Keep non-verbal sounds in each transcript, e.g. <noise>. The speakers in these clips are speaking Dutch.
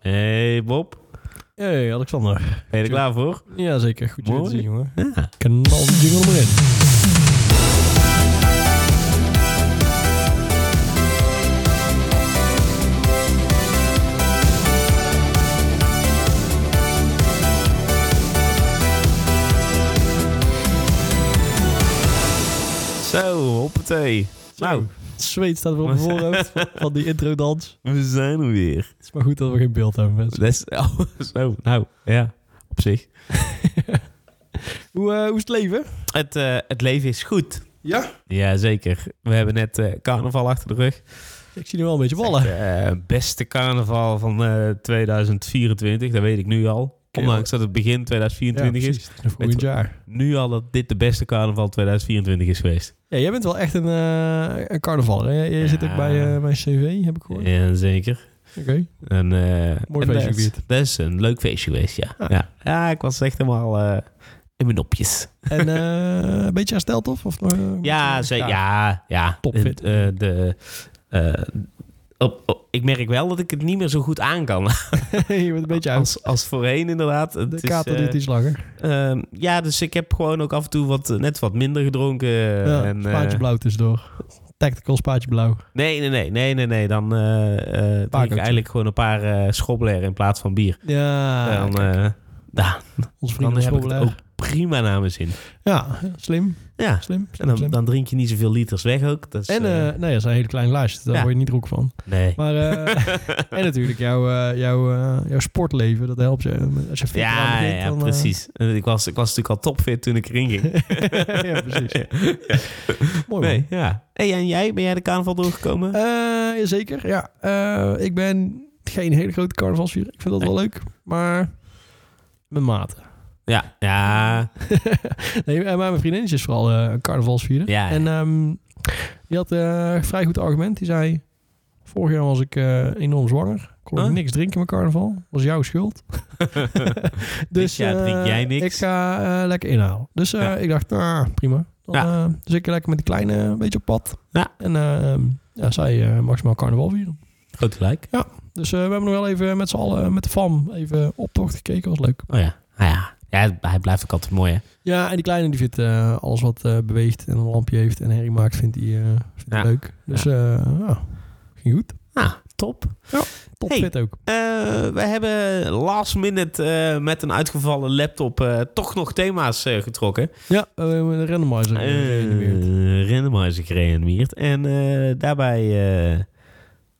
Hey Bob, Hey, Alexander. ben je er klaar voor? Ja, zeker. Goed je Mooi. te zien, jongen. Ja. Knal de jingle er maar in. Zo, hoppatee. Nou, Het zweet staat <laughs> weer op mijn voorhoofd van die introdans. we zijn er weer. Het is maar goed dat we geen beeld hebben, mensen. Dat is, oh, <laughs> zo, nou, ja, op zich. Hoe, eh, hoe is het leven? Het, eh, het leven is goed. Ja. Ja, zeker. We hebben net eh, carnaval achter de rug. Ik zie nu wel een beetje ballen. Eh, beste carnaval van eh, 2024, dat weet ik nu al. Ondanks dat het begin 2024 is. Een volgend Weet je- jaar. Nu al dat dit de beste carnaval 2024 is geweest. Ja, jij bent wel echt een, eh een carnavaller. hè? Jij zit Ja. ook bij eh mijn cv, heb ik gehoord. Ja, zeker. Oké. En, eh, en feestje dat is- gevierd. Dat is een leuk feestje geweest, ja. Ah. Ja, ja ik was echt helemaal eh, in mijn nopjes. En <laughs> eh, een beetje hersteld, of? of nog, eh, Ja, ze, ja, ja. Topfit. Eh, eh, de, eh, op, op- ik merk wel dat ik het niet meer zo goed aan kan. <laughs> je bent <laughs> een beetje uit. Als, als voorheen inderdaad. Het De is, kater eh, duurt iets langer. ehm, ja, dus ik heb gewoon ook af en toe wat, eh, net wat minder gedronken. ja, en, eh, spaatje blauw tussendoor. Tactical spaatje blauw. nee, nee, nee, nee, nee, nee. Dan eh, eh, drink ik cocktails. eigenlijk gewoon een paar eh schobbelair in plaats van bier. Ja, dan eh, nou, onze vrienden dan heb ik van het Ah, Schobbelaar. ook prima naar mijn zin. Ja, slim. Ja, Slim. slim, en dan, slim. dan drink je niet zoveel liters weg ook. Dat is, en eh, eh nee, dat zijn hele kleine glaasjes. Daar ja. word je niet roek van. nee. <laughs> Maar, eh, en natuurlijk jouw, eh, jouw, eh, jouw sportleven. Dat helpt je. Als je fit eraan Ja, begint, ja, dan, eh, precies. En Ik, was, ik was natuurlijk al topfit toen ik erin ging. <laughs> ja, precies. <laughs> Mooi Nee, man. ja. Hey, en jij? Ben jij de carnaval doorgekomen? Eh, Jazeker, ja. Eh, ik ben geen hele grote carnavalsvierer. Ik vind dat wel leuk. Maar mijn mate. ja. Ja. Nee, eh, maar mijn vriendinnetje is vooral eh, een carnavalsvierder. Ja, ja. En ehm, die had eh, een vrij goed argument. Die zei, vorig jaar was ik eh, enorm zwanger. Kon ik Huh? niks drinken met carnaval. was jouw schuld. dus jaar eh, drink jij niks. ik ga eh, lekker inhalen. Dus eh, Ja. ik dacht, ah, prima. Dan, Ja. eh, dus ik lekker met die kleine een beetje op pad. Ja. En eh, ja, zij eh, maximaal carnaval vieren. <laughs> Groot gelijk. Dus eh, we hebben nog wel even met z'n allen, eh, met de fam, even optocht gekeken. was leuk. Oh ja. Ah, ja. ja, hij blijft ook altijd mooi, hè? Ja, en die kleine die vindt eh, alles wat eh, beweegt en een lampje heeft en herrie maakt, vindt hij eh, vindt hij Ja. leuk. Dus ja. ja, ging goed. Nou, top. Top Hey. fit ook. Eh, we hebben last minute eh, met een uitgevallen laptop eh, toch nog thema's eh, getrokken. Ja, eh, we hebben een randomizer. eh, gereanimeerd. Eh, randomizer gereanimeerd. En eh, daarbij eh,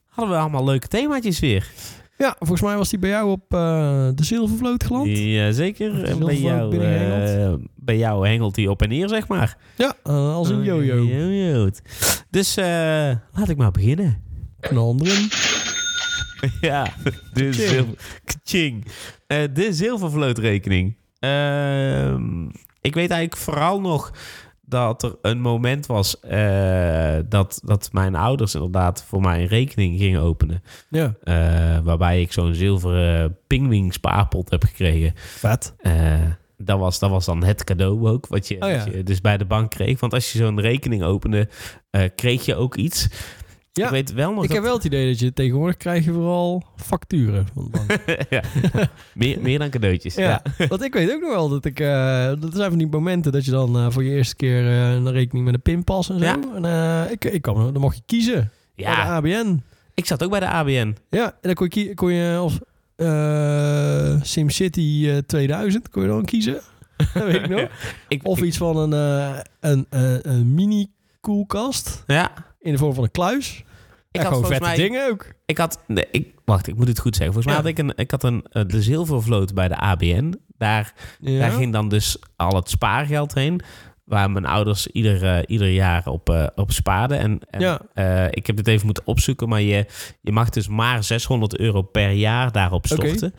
hadden we allemaal leuke themaatjes weer. ja, volgens mij was die bij jou op eh, de zilvervloot geland. Jazeker. Zelfs En bij ook jou, binnen eh, Engeland. bij jou hengelt hij op en neer, zeg maar. Ja, eh, als een jojo. Eh, jojo't. Dus eh, laat ik maar beginnen. Knal hem erin. <laughs> ja, de, Ka-ching. zilver, Ka-ching. Eh, de zilvervlootrekening. Ehm, ik weet eigenlijk vooral nog dat er een moment was eh, dat, dat mijn ouders inderdaad voor mij een rekening gingen openen. Ja, Eh, waarbij ik zo'n zilveren pingwing spaarpot heb gekregen. vet. Eh, dat, was, dat was dan het cadeau ook, wat je, Oh ja. wat je dus bij de bank kreeg. Want als je zo'n rekening opende, eh, kreeg je ook iets. Ja, Ik weet wel nog Ik dat- <laughs> heb wel het idee dat je tegenwoordig krijg je vooral facturen van de <laughs> bank. ja. meer, meer dan cadeautjes. Ja, Ja. want ik weet ook nog wel dat ik... eh dat zijn van die momenten dat je dan eh, voor je eerste keer eh, een rekening met een pinpas en zo. Ja. En, eh, ik, ik kwam, dan mocht je kiezen Ja, bij de ABN. ik zat ook bij de ABN. Ja, en dan kon je, kie- kon je of eh, SimCity eh, 2000 kon je dan kiezen. <laughs> Dat weet ik nog. <laughs> Ik, Of ik- iets van een, eh, een, een, een mini koelkast ja, in de vorm van een kluis. ik en had gewoon volgens vette mij... dingen ook. Ik had... Nee, ik, wacht, ik moet het goed zeggen. Volgens mij Ja. had ik een, ik had een, eh, de zilvervloot bij de ABN. Daar, Ja. daar ging dan dus al het spaargeld heen. Waar mijn ouders ieder, eh, ieder jaar op, eh, op spaarden. En, en ja. Eh, ik heb dit even moeten opzoeken, maar je, je mag dus maar 600 euro per jaar daarop Oké. storten.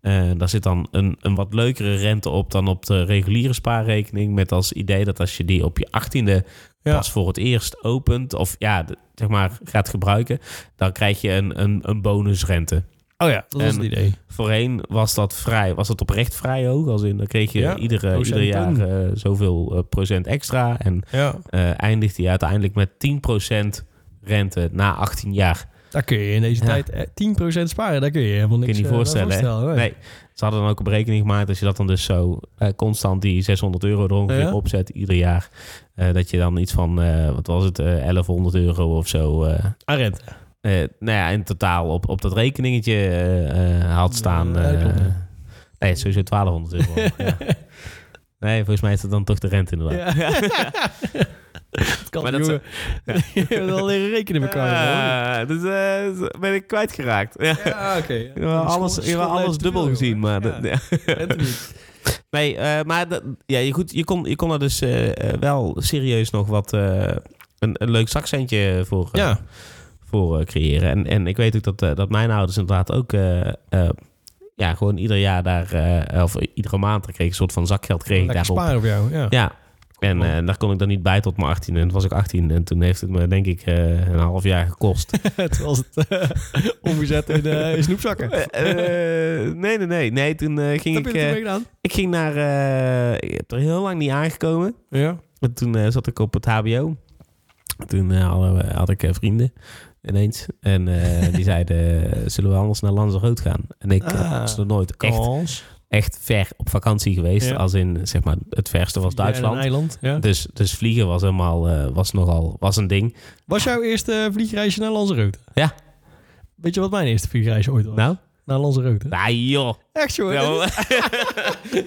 Eh, daar zit dan een, een wat leukere rente op dan op de reguliere spaarrekening. Met als idee dat als je die op je 18e Ja. pas voor het eerst opent, of ja, de- zeg maar gaat gebruiken, dan krijg je een, een, een bonusrente. Oh ja, dat was en- het idee. Voorheen was dat vrij, was dat oprecht vrij hoog. Als in, dan kreeg je Ja, iedere, ieder procenten. jaar eh, zoveel eh, procent extra. En Ja. eh, eindigt hij uiteindelijk met 10% rente na 18 jaar. Daar kun je in deze Ja. tijd eh, 10% sparen. Daar kun je helemaal niks Kun je niet eh, bij voorstellen, hè? nee. Nee. Ze hadden dan ook een berekening gemaakt. Als je dat dan dus zo eh, constant die 600 euro er ongeveer Ja. opzet ieder jaar. eh, dat je dan iets van, eh, wat was het, eh, 1100 euro of zo. eh, Aan rente. eh, nou ja, in totaal op, op dat rekeningetje eh, eh, had staan. Ja, dat eh, klopt, nee, sowieso 1200 <laughs> euro. ja. Nee, volgens mij is dat dan toch de rente inderdaad. <laughs> Oh, Ja. <laughs> Het kan Maar dat dat jongen. <laughs> Je hebt wel leren rekenen met elkaar. hoor. Ja, dus eh, ben ik kwijtgeraakt. <laughs> Ja. Ja, oké. Je hebt wel alles, je hebt wel alles dubbel gezien, maar... dat- <laughs> ja. Rente niet. <laughs> Nee, eh, maar dat- ja, je, goed, je, kon, je kon er dus eh, eh, wel serieus nog wat... eh, een, een leuk zakcentje voor, eh, Ja. voor eh, creëren. En, en ik weet ook dat, eh, dat mijn ouders inderdaad ook... eh, eh, ja, gewoon ieder jaar daar... eh, of iedere maand kreeg ik een soort van zakgeld kreeg ik Lekker daarop. sparen op jou. Ja. Ja. En man. eh, daar kon ik dan niet bij tot mijn 18 en toen was ik 18 en toen heeft het me denk ik eh, een half jaar gekost. Terwijl ze <laughs> het eh, omgezet in, eh, in snoepzakken. Eh, <laughs> eh, nee, nee, nee. Nee, toen eh, ging Heb ik... je eh, het gedaan? ik ging naar... eh, ik heb er heel lang niet aangekomen. Ja. En toen eh, zat ik op het HBO. Toen eh, hadden we- had ik eh, vrienden ineens. En eh, die <laughs> zeiden, eh, zullen we anders naar Lanzarote gaan? En ik eh, Ah, was nog nooit echt, Kans. echt ver op vakantie geweest. Ja. Als in, zeg maar, het verste was Een Duitsland. eiland. Ja. Dus, dus vliegen was helemaal, eh, was nogal, was een ding. Was jouw eerste vliegreisje naar Lanzarote? Ja. Weet je wat mijn eerste vliegreisje ooit was? Nou, Naar Lanzarote. nou <laughs> joh. Echt joh. Ja, maar- <laughs>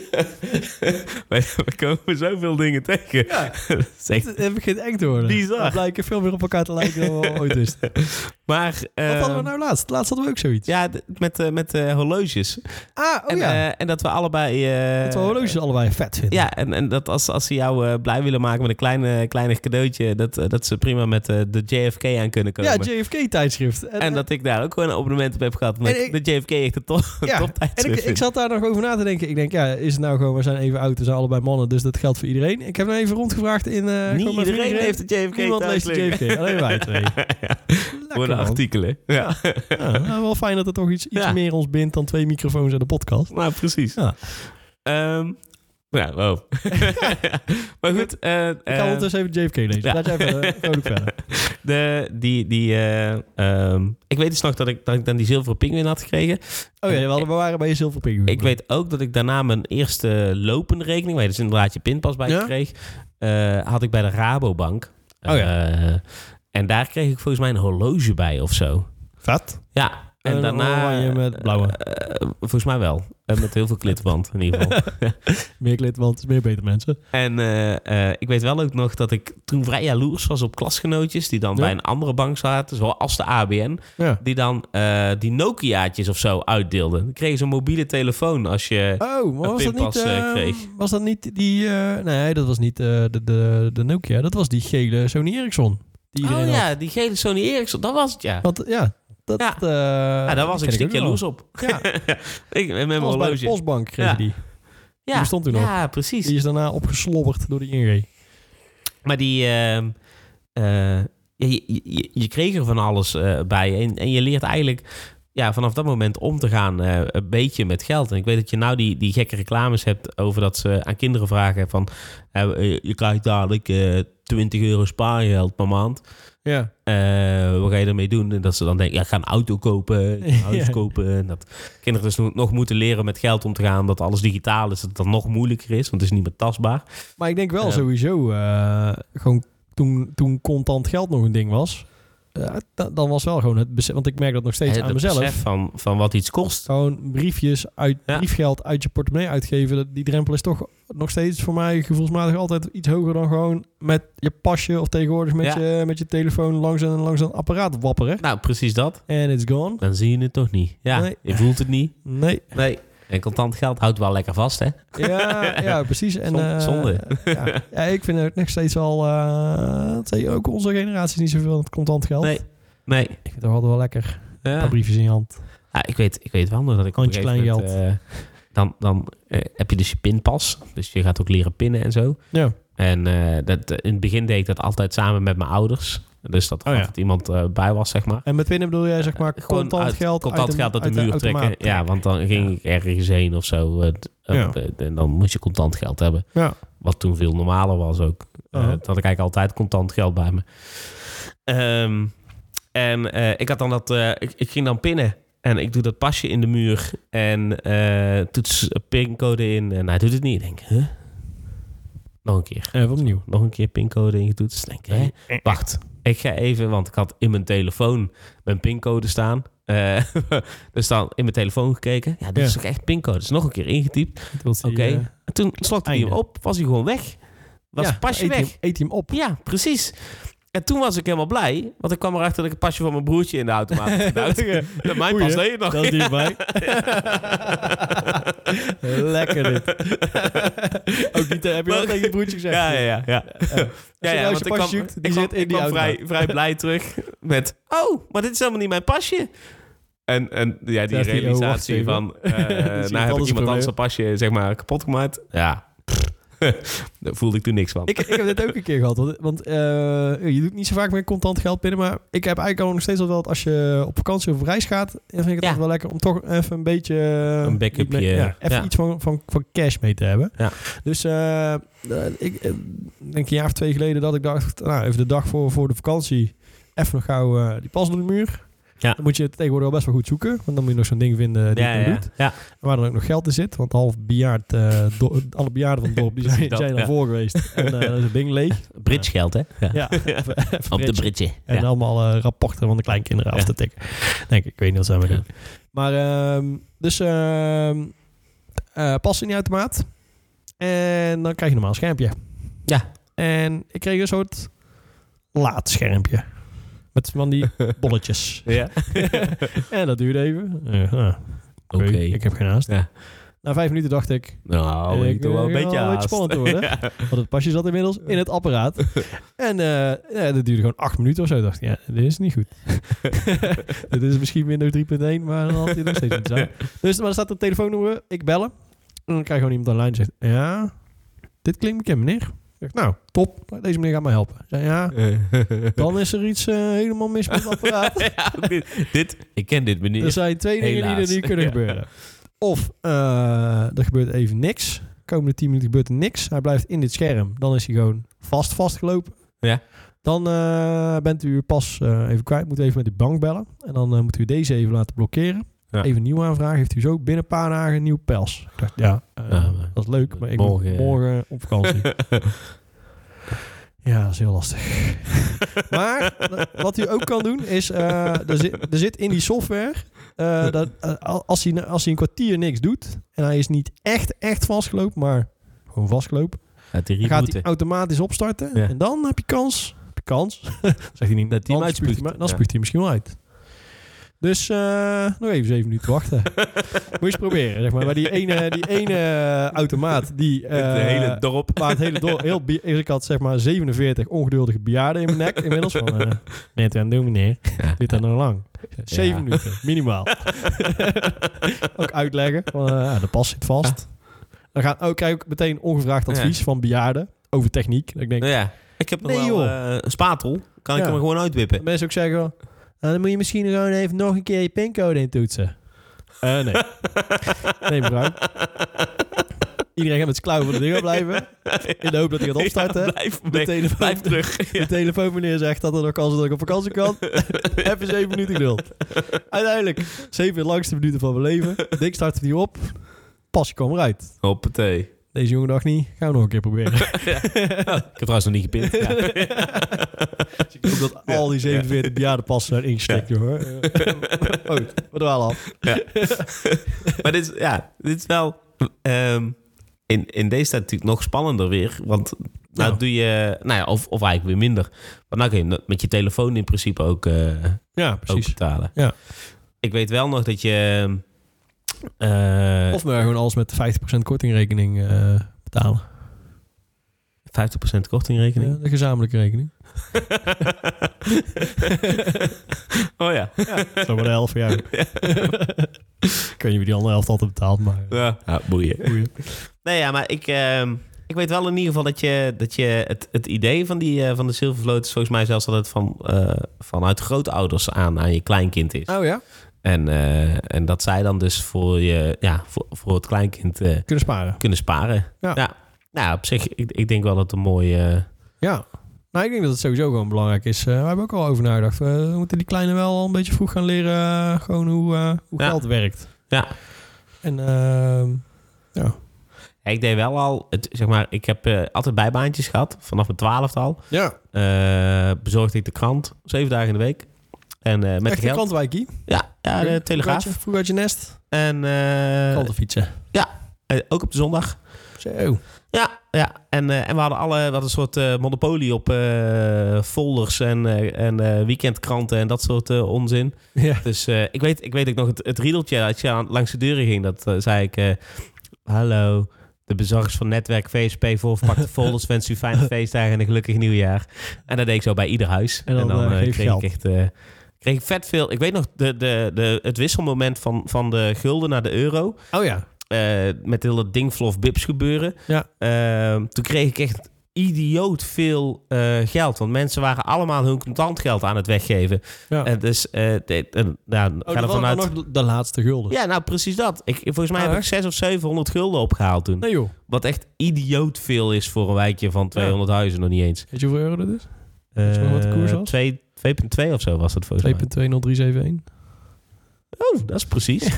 we, we komen zoveel dingen tegen. Ja. Dat is echt Het, het begint eng te worden. Bizar. Het lijken veel meer op elkaar te lijken dan we ooit wisten. Maar, <laughs> Wat eh, hadden we nou laatst? Laatst hadden we ook zoiets. ja, d- met, eh, met eh, horloges. Ah, oh en, ja. eh, en dat we allebei... eh, dat we horloges allebei vet vinden. Ja, en, en dat als, als ze jou eh, blij willen maken met een kleine, kleiner cadeautje, dat, eh, dat ze prima met eh, de JFK aan kunnen komen. Ja, JFK-tijdschrift. en dat ik daar ook gewoon een abonnement op heb gehad. Met En ik- de JFK echt een <laughs> top, Ja, top En ik, eh, tijdschrift. ik zat daar nog over na te denken. Ik denk, ja, is het nou gewoon, we zijn even oud, we zijn allebei mannen, dus dat geldt voor iedereen. Ik heb nou even rondgevraagd in... eh, Niet gewoon mijn iedereen vrienden. heeft de JFK Niemand leest de thuis liggen. JFK, alleen wij twee. <laughs> Lekker, Voor de man. artikelen. Ja. Ja, nou, wel fijn dat er toch iets, iets Ja. meer ons bindt dan twee microfoons en een podcast. <laughs> Nou, precies. Ja. Ehm, nou, <laughs> wow. <laughs> maar goed, eh, Ik eh, ga ondertussen even JFK lezen. ja. Laat jij even eh, vrolijk verder. <laughs> de, die, die, eh, ehm, ik weet dus nog dat ik, dat ik dan die zilveren pinguïn had gekregen. Oh ja, we hadden- we waren bij je zilver pinguïn. Ik weet ook dat ik daarna mijn eerste lopende rekening, waar je dus inderdaad je pinpas bij Ja. kreeg, eh, had ik bij de Rabobank. Oh ja. Eh, en daar kreeg ik volgens mij een horloge bij of zo. Vet. Ja. En Een daarna... oranje met blauwe. eh, eh, volgens mij wel. Eh, met heel veel klitband in ieder <laughs> geval. Meer klit, want het is meer beter mensen. En eh, eh, ik weet wel ook nog dat ik toen vrij jaloers was op klasgenootjes... die dan Ja. bij een andere bank zaten, zoals de ABN... Ja. die dan eh, die Nokia'tjes of zo uitdeelden. Dan kregen ze een mobiele telefoon als je... Oh, maar Een was dat, niet, pinpas, eh, eh, kreeg. was dat niet die... eh, nee, dat was niet eh, de, de, de Nokia. Dat was die gele Sony Ericsson. Die iedereen oh had. ja, die gele Sony Ericsson, dat was het ja. Want ja, dat... Ja. eh, Oh, ja, daar was die ik stik ken ook nog. jaloers op. Ja, dat <laughs> Ik, met mijn was bij de horloge. postbank kreeg je Ja. die. ja, die bestond toen nog. Ja, precies. Die is daarna opgeslobberd door de ING. Maar die... ehm, eh, ja, je, je, je kreeg er van alles eh, bij. En, en je leert eigenlijk ja, vanaf dat moment om te gaan eh, een beetje met geld. En ik weet dat je nou die, die gekke reclames hebt over dat ze aan kinderen vragen van... eh, eh, je krijgt dadelijk eh 20 euro spaargeld per maand. Ja. Eh, wat ga je daarmee doen? En dat ze dan denken, ja, ik ga een auto kopen, ik ga <laughs> een huis Ja. kopen. En dat kinderen dus no- nog moeten leren met geld om te gaan. Dat alles digitaal is, dat het dan nog moeilijker is. Want het is niet meer tastbaar. Maar ik denk wel Ja. sowieso, eh, gewoon toen, toen contant geld nog een ding was, eh, da- dan was wel gewoon het besef, want ik merk dat nog steeds Het aan mezelf. besef van, van wat iets kost. Gewoon briefjes uit Ja. briefgeld uit je portemonnee uitgeven. dat- Die drempel is toch nog steeds voor mij gevoelsmatig altijd iets hoger dan gewoon met je pasje of tegenwoordig met, Ja. je, met je telefoon langs en langs een apparaat wapperen. Nou, precies dat. En it's gone. Dan zie je het toch niet. Ja, Nee. je voelt het niet. <laughs> Nee. Nee. En contant geld houdt wel lekker vast, hè? <laughs> Ja, ja precies. En, Zonde- eh, zonde. ja. Ja, ik vind het nog steeds wel. eh, het zijn ook onze generaties niet zoveel aan het contant geld. Nee. Nee. Ik vind het altijd wel lekker. Een Ja. paar briefjes in je hand. Ja, ik, weet, ik weet wel nog dat ik op Handje een gegeven kleingeld. moment, eh, dan dan eh, heb je dus je pinpas. Dus je gaat ook leren pinnen en zo. Ja. En eh, dat, in het begin deed ik dat altijd samen met mijn ouders. Dus dat er Oh ja. altijd iemand eh, bij was, zeg maar. En met winnen bedoel jij zeg maar Gewoon contant uit- geld Contant uit de, geld uit de muur trekken. automaat Ja, want dan ging Ja. ik ergens heen of zo. eh, d- eh, Ja. d- En dan moest je contant geld hebben. Ja. Wat toen veel normaler was ook. Eh Oh. dat had ik eigenlijk altijd contant geld bij me. Ehm, En eh, ik had dan dat. eh, ik, ik ging dan pinnen. En ik doe dat pasje in de muur. En eh toets pincode in. En hij doet het niet. Ik denk, huh? Nog een keer. Even opnieuw. Nog een keer pincode ingetoetst. Denk, ik, hè? eh, Wacht, ik ga even, want ik had in mijn telefoon mijn pincode staan. Eh, <laughs> dus dan in mijn telefoon gekeken. Ja, dit is Ja. toch echt pincode. Dus nog een keer ingetypt. Oké. Oké. eh, En toen slokte hij hem einde. op, was hij gewoon weg. Was het pasje weg. Eet hij hem op. Ja, precies. En toen was ik helemaal blij, want ik kwam erachter dat ik het pasje van mijn broertje in de automaat had <laughs> gedaan. Dat mijn Oei, pas hè? deed het nog. Dat is <laughs> dierbij. Lekker <laughs> dit. Ook niet, eh, heb je Maar- wel tegen je broertje gezegd? Ja, ja, ja. ja. Ja, ja, nou want je ik pas kwam, zoekt, die ik kwam, zit in ik die kwam vrij, automaat. vrij <laughs> blij terug met... Oh, maar dit is helemaal niet mijn pasje. En, en ja, die Daar is die, oh, wacht realisatie even. van... <laughs> eh anders nou heb ik iemand probleem. anders een pasje zeg maar, kapot gemaakt. Ja, <laughs> daar voelde ik toen niks van. Ik, ik heb dit ook een keer gehad. Want, want, eh, je doet niet zo vaak meer contant geld pinnen. Maar ik heb eigenlijk al nog steeds al wel dat als je op vakantie of op reis gaat. Dan vind ik het Ja. altijd wel lekker om toch even een beetje... Een backupje, Ja, even ja. iets van, van, van cash mee te hebben. Ja. Dus eh, eh, ik eh, denk een jaar of twee geleden dat ik dacht... Nou, even de dag voor, voor de vakantie. Even nog gauw eh, die pas door de muur. Ja. Dan moet je het tegenwoordig wel best wel goed zoeken. Want dan moet je nog zo'n ding vinden die ja, het ja, nog ja. doet. ja. Waar dan ook nog geld in zit. Want half bejaard, eh, do- alle bejaarden van het dorp die zijn, Precies <laughs> dat, zijn ja. ervoor geweest. <laughs> En eh, dan is het ding leeg. Brits geld, hè? Ja. Ja, even- even <laughs> Op de bridgen. Britje. En <laughs> Ja. allemaal eh, rapporten van de kleinkinderen af Ja. te tikken. Denk ik, ik weet niet wat ze aan Ja. doen. Maar ehm, dus ehm eh, pas in die automaat. En dan krijg je normaal een schermpje. Ja. En ik kreeg een soort laat schermpje. Met van die <laughs> bolletjes. Ja. en dat duurde even. Ja, ah, Oké. Ik heb geen haast. Ja. Na vijf minuten dacht ik, Nou, Ik ik doe wel een wil beetje wel iets haast. spannend worden. <laughs> Ja. want het pasje zat inmiddels in het apparaat. En eh, ja, dat duurde gewoon acht minuten of zo. Ik dacht, ja, dit is niet goed. dit is misschien Windows 3.1, maar dan had hij nog steeds niet zijn. Dus maar er staat een telefoonnummer, ik bellen. En dan krijg je gewoon iemand online die zegt, ja, dit klinkt bekend, meneer. Ik dacht, nou, top, deze meneer gaat mij helpen. Ik zei, ja, dan is er iets eh, helemaal mis met het apparaat. <laughs> Ja, dit, dit- ik ken dit Er meneer. <laughs> zijn twee dingen Helaas. die er nu <laughs> kunnen Ja. gebeuren. Of eh, er gebeurt even niks. Komende 10 minuten gebeurt er niks. Hij blijft in dit scherm. Dan is hij gewoon vast vastgelopen. Ja. Dan eh, bent u uw pas eh, even kwijt. Moet u even met de bank bellen. En dan eh, moet u deze even laten blokkeren. Ja. Even nieuw aanvragen. Heeft u zo binnen een paar dagen een nieuw pels. Ik dacht, ja, eh, Ja, maar- dat is leuk. Maar ik Morgen- morgen, morgen op <laughs> vakantie. ja, dat is heel lastig. Maar wat u ook kan doen is, eh, er, zit, er zit in die software, eh, dat, eh, al- als, hij, als hij een kwartier niks doet en hij is niet echt, echt vastgelopen, maar gewoon vastgelopen, Gaat die dan gaat hij rebooten. automatisch opstarten Ja. en dan heb je kans, heb je <laughs> kans, zegt hij niet, Dat hij hem dan spuugt hij, uitspuugt. maar- dan Ja. spuugt hij misschien wel uit. Dus eh, nog even zeven minuten wachten. Oh, <laughs> Moet je eens proberen, zeg maar. Maar die ene, die <laughs> ene automaat die... de eh, hele dorp. maar het hele dorp, heel bi- ik had zeg maar 47 ongeduldige bejaarden in mijn nek inmiddels. Van, <laughs> eh net aan het doen meneer, dit dan nog lang. Zeven Ja. minuten, minimaal. <laughs> ook uitleggen, van, eh, ja, de pas zit vast. Dan gaan, ook krijg ik meteen ongevraagd advies van bejaarden over techniek. Dat Ik denk, Nou Ja. Ik heb nog Nee, wel joh. eh, een spatel. Kan ik Ja. hem er gewoon uitwippen? mensen ook zeggen, nou, dan moet je misschien gewoon even nog een keer je pincode in toetsen. Eh, nee. nee, mevrouw. Iedereen gaat met zijn klauwen voor de deur blijven. In de hoop dat hij gaat opstarten. <laughs> Ja, blijf, de weg. telefoon, blijf <laughs> terug. De Ja. telefoonmeneer zegt dat er nog kans is dat ik op vakantie kan. Even zeven minuten geduld. Uiteindelijk, zeven langste minuten van mijn leven. Dik startte die op. Pas kwam eruit. Hoppatee. Deze jongen dacht niet. Gaan we nog een keer <laughs> proberen. ik heb trouwens nog niet <laughs> gepind. Ja. Ook dat al die 47 bejaarden passen zijn ingestikt, joh. hoor. <laughs> Oh, we dwalen af. maar dit is, ja, dit is wel... ehm, in, in deze staat natuurlijk nog spannender weer. Want nou Nou. doe je... Nou ja, of, of eigenlijk weer minder. Maar nou kun je met je telefoon in principe ook... eh, Ja, ook betalen. Ja. Ik weet wel nog dat je... eh, Of nou gewoon alles met 50% kortingrekening eh, betalen. 50% kortingrekening. Ja, de gezamenlijke rekening. <laughs> oh ja. Zo maar de helft van jou. <laughs> Ik weet niet wie die andere helft altijd betaalt, maar... Ja, boeien. Goeie. Nee, ja, maar ik, ehm, ik weet wel in ieder geval dat je, dat je het, het idee van, die, eh, van de zilvervloot is volgens mij zelfs dat het van, eh, vanuit grootouders aan aan je kleinkind is. Oh ja? En, eh, en dat zij dan dus voor, je, ja, voor, voor het kleinkind eh, Kunnen sparen. kunnen sparen. Ja. Nou, op zich, ik, ik denk wel dat het een mooie, Ja. Nou, ik denk dat het sowieso gewoon belangrijk is. Eh, we hebben ook al over nagedacht. Eh, we moeten die kleine wel al een beetje vroeg gaan leren eh, gewoon hoe, eh, hoe Ja. geld werkt. Ja. En ehm, Ja, eh, Ik deed wel al, het, zeg maar, ik heb eh, altijd bijbaantjes gehad, vanaf mijn twaalfde al. ja, Eh, bezorgde ik de krant, zeven dagen in de week. En eh, met echt de een geld. klantwijkie. Ja, ja, de Telegraaf. Vroeg uit je, vroeg uit je nest. En eh, Klantenfietsen. eh, ook op de zondag. Zo. Ja, ja. En, eh, en we hadden alle we hadden een soort eh, monopolie op eh, folders en, eh, en eh, weekendkranten en dat soort eh, onzin. Ja. Dus eh, ik, weet, ik weet ook nog het, het riedeltje dat je aan- langs de deuren ging. Dat eh, zei ik, eh, hallo, de bezorgers van netwerk VSP voor <laughs> verpakte folders. Wens u fijne feestdagen en een gelukkig nieuwjaar. En dat deed ik zo bij ieder huis. En dan, eh, eh, geef kreeg geld. ik echt... eh, kreeg ik vet veel. Ik weet nog de, de, de, het wisselmoment van, van de gulden naar de euro. Oh ja. eh, met heel dat dingvlof bips gebeuren. Ja. Eh, toen kreeg ik echt idioot veel eh, geld. Want mensen waren allemaal hun contantgeld aan het weggeven. ja. En dus, eh, de- eh, nou, ga oh, dat er waren vanuit. dan nog de laatste gulden. Ja, nou precies dat. Ik, volgens mij Ah, heb ik echt? 6 of 700 gulden opgehaald toen. Nee joh. Wat echt idioot veel is voor een wijkje van 200 huizen, nog niet eens. Weet je hoeveel euro dat is? je Eh, nog wat de koers was? 2 2,2 of zo was dat volgens mij. 2.20371. Oh, dat is precies. <laughs> <laughs>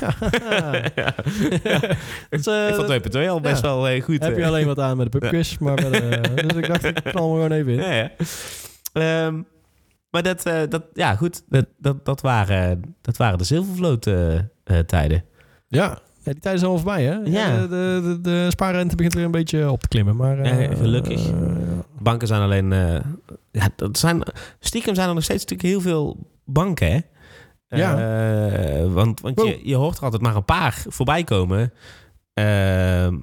Ja. Dat is, eh, ik vond 2,2 al best ja. wel eh, goed. heb je eh. alleen wat aan met de pubquiz. Maar met, eh, dus ik dacht, ik knal me gewoon even in. Ja, ja. Ehm, maar dat, eh, dat, ja goed, dat, dat, dat, waren, dat waren de zilvervloot eh, eh, tijden. Ja. die tijd is allemaal voorbij, hè? Ja. De, de, de, de spaarrente begint weer een beetje op te klimmen. Maar, eh, Ja, gelukkig. eh, Banken zijn alleen. eh, ja, dat zijn, stiekem zijn er nog steeds natuurlijk heel veel banken. Hè? Ja. Eh, want want je, je hoort er altijd maar een paar voorbij komen. Eh,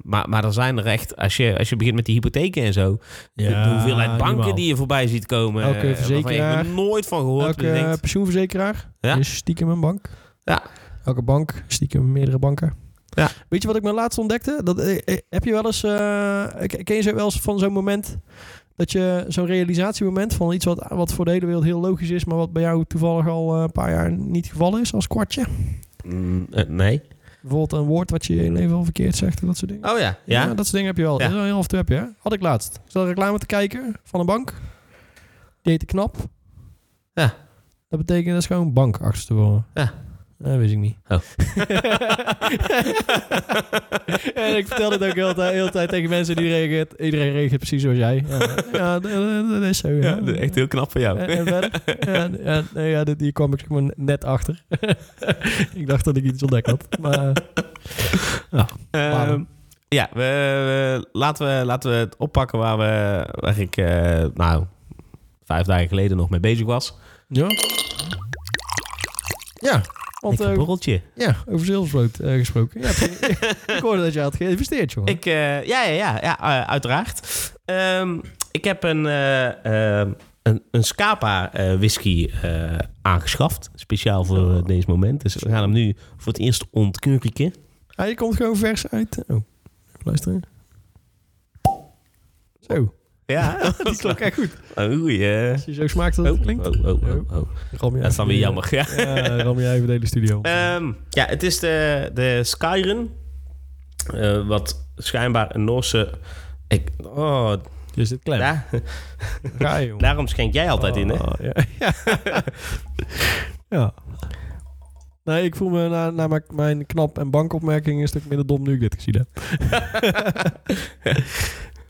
maar, maar er zijn er echt, als je, als je begint met die hypotheken en zo, de, de hoeveelheid banken niet normaal. die je voorbij ziet komen, Elke eh, waarvan verzekeraar. je nog nooit van gehoord hebt. Elke Je denkt, eh, pensioenverzekeraar Ja. is stiekem een bank. Ja. Elke bank, stiekem meerdere banken. Ja. Weet je wat ik me laatst ontdekte? Dat, eh, eh, heb je wel eens, eh, k- ken je zo wel eens van zo'n moment, dat je zo'n realisatiemoment van iets wat, wat voor de hele wereld heel logisch is, maar wat bij jou toevallig al eh, een paar jaar niet het geval is als kwartje? mm, eh, nee. Bijvoorbeeld een woord wat je in even al verkeerd zegt en dat soort dingen. Oh ja. Ja? dat soort dingen heb je wel. Ja. Dat is wel heel af en toe heb je. hè? Had ik laatst. Ik zat een reclame te kijken van een bank. Die heette Knap. Ja. Dat betekent dat is gewoon bank achter te worden. Ja. Dat wist ik niet. Oh. <laughs> en ik vertel dit ook heel de hele tijd tegen mensen die reageert. Iedereen reageert precies zoals jij. Ja, ja dat, dat- dat is zo. Ja, Ja, echt heel knap van jou. En, en verder? Ja, ja, nee, ja, dit- hier kwam ik zeg maar net achter. <laughs> ik dacht dat ik iets ontdekt had. Maar eh, Ehm, Waarom? ja, we, we- laten, we, laten we het oppakken waar, we, waar ik eh, nou, vijf dagen geleden nog mee bezig was. Ja. Ja, want Lekker eh, borreltje. ja, over zilvervloot eh, gesproken. <laughs> Ja, ik hoorde dat je had geïnvesteerd, jongen. Ik, eh, ja, ja, ja, ja eh, uiteraard. Ehm, ik heb een, eh, ehm, een, een Scapa eh, whisky eh, aangeschaft. Speciaal voor Oh. eh, deze moment. Dus we gaan hem nu voor het eerst ontkurken. Hij Ah, komt gewoon vers uit. Oh, even luisteren. Zo, <laughs> Ja, <laughs> die klonk echt goed. Oei, eh. Oh. Als je zo smaakt dat Oh, het klinkt. oh, oh, oh, oh. Ram jij Dat is dan weer even- jammer. <laughs> Ja. Ja, ram jij even de hele studio. Ehm, ja, het is de, de Skyrim. Eh, wat schijnbaar een Noorse... Ik, oh, Je zit klem. daar- Ga je, jongen. daarom schenk jij altijd in, hè? <laughs> Oh, Ja. <laughs> Ja. ja. Nee, ik voel me na, na mijn, mijn knap- en bankopmerking een stuk minder dom nu ik dit gezien heb. <laughs>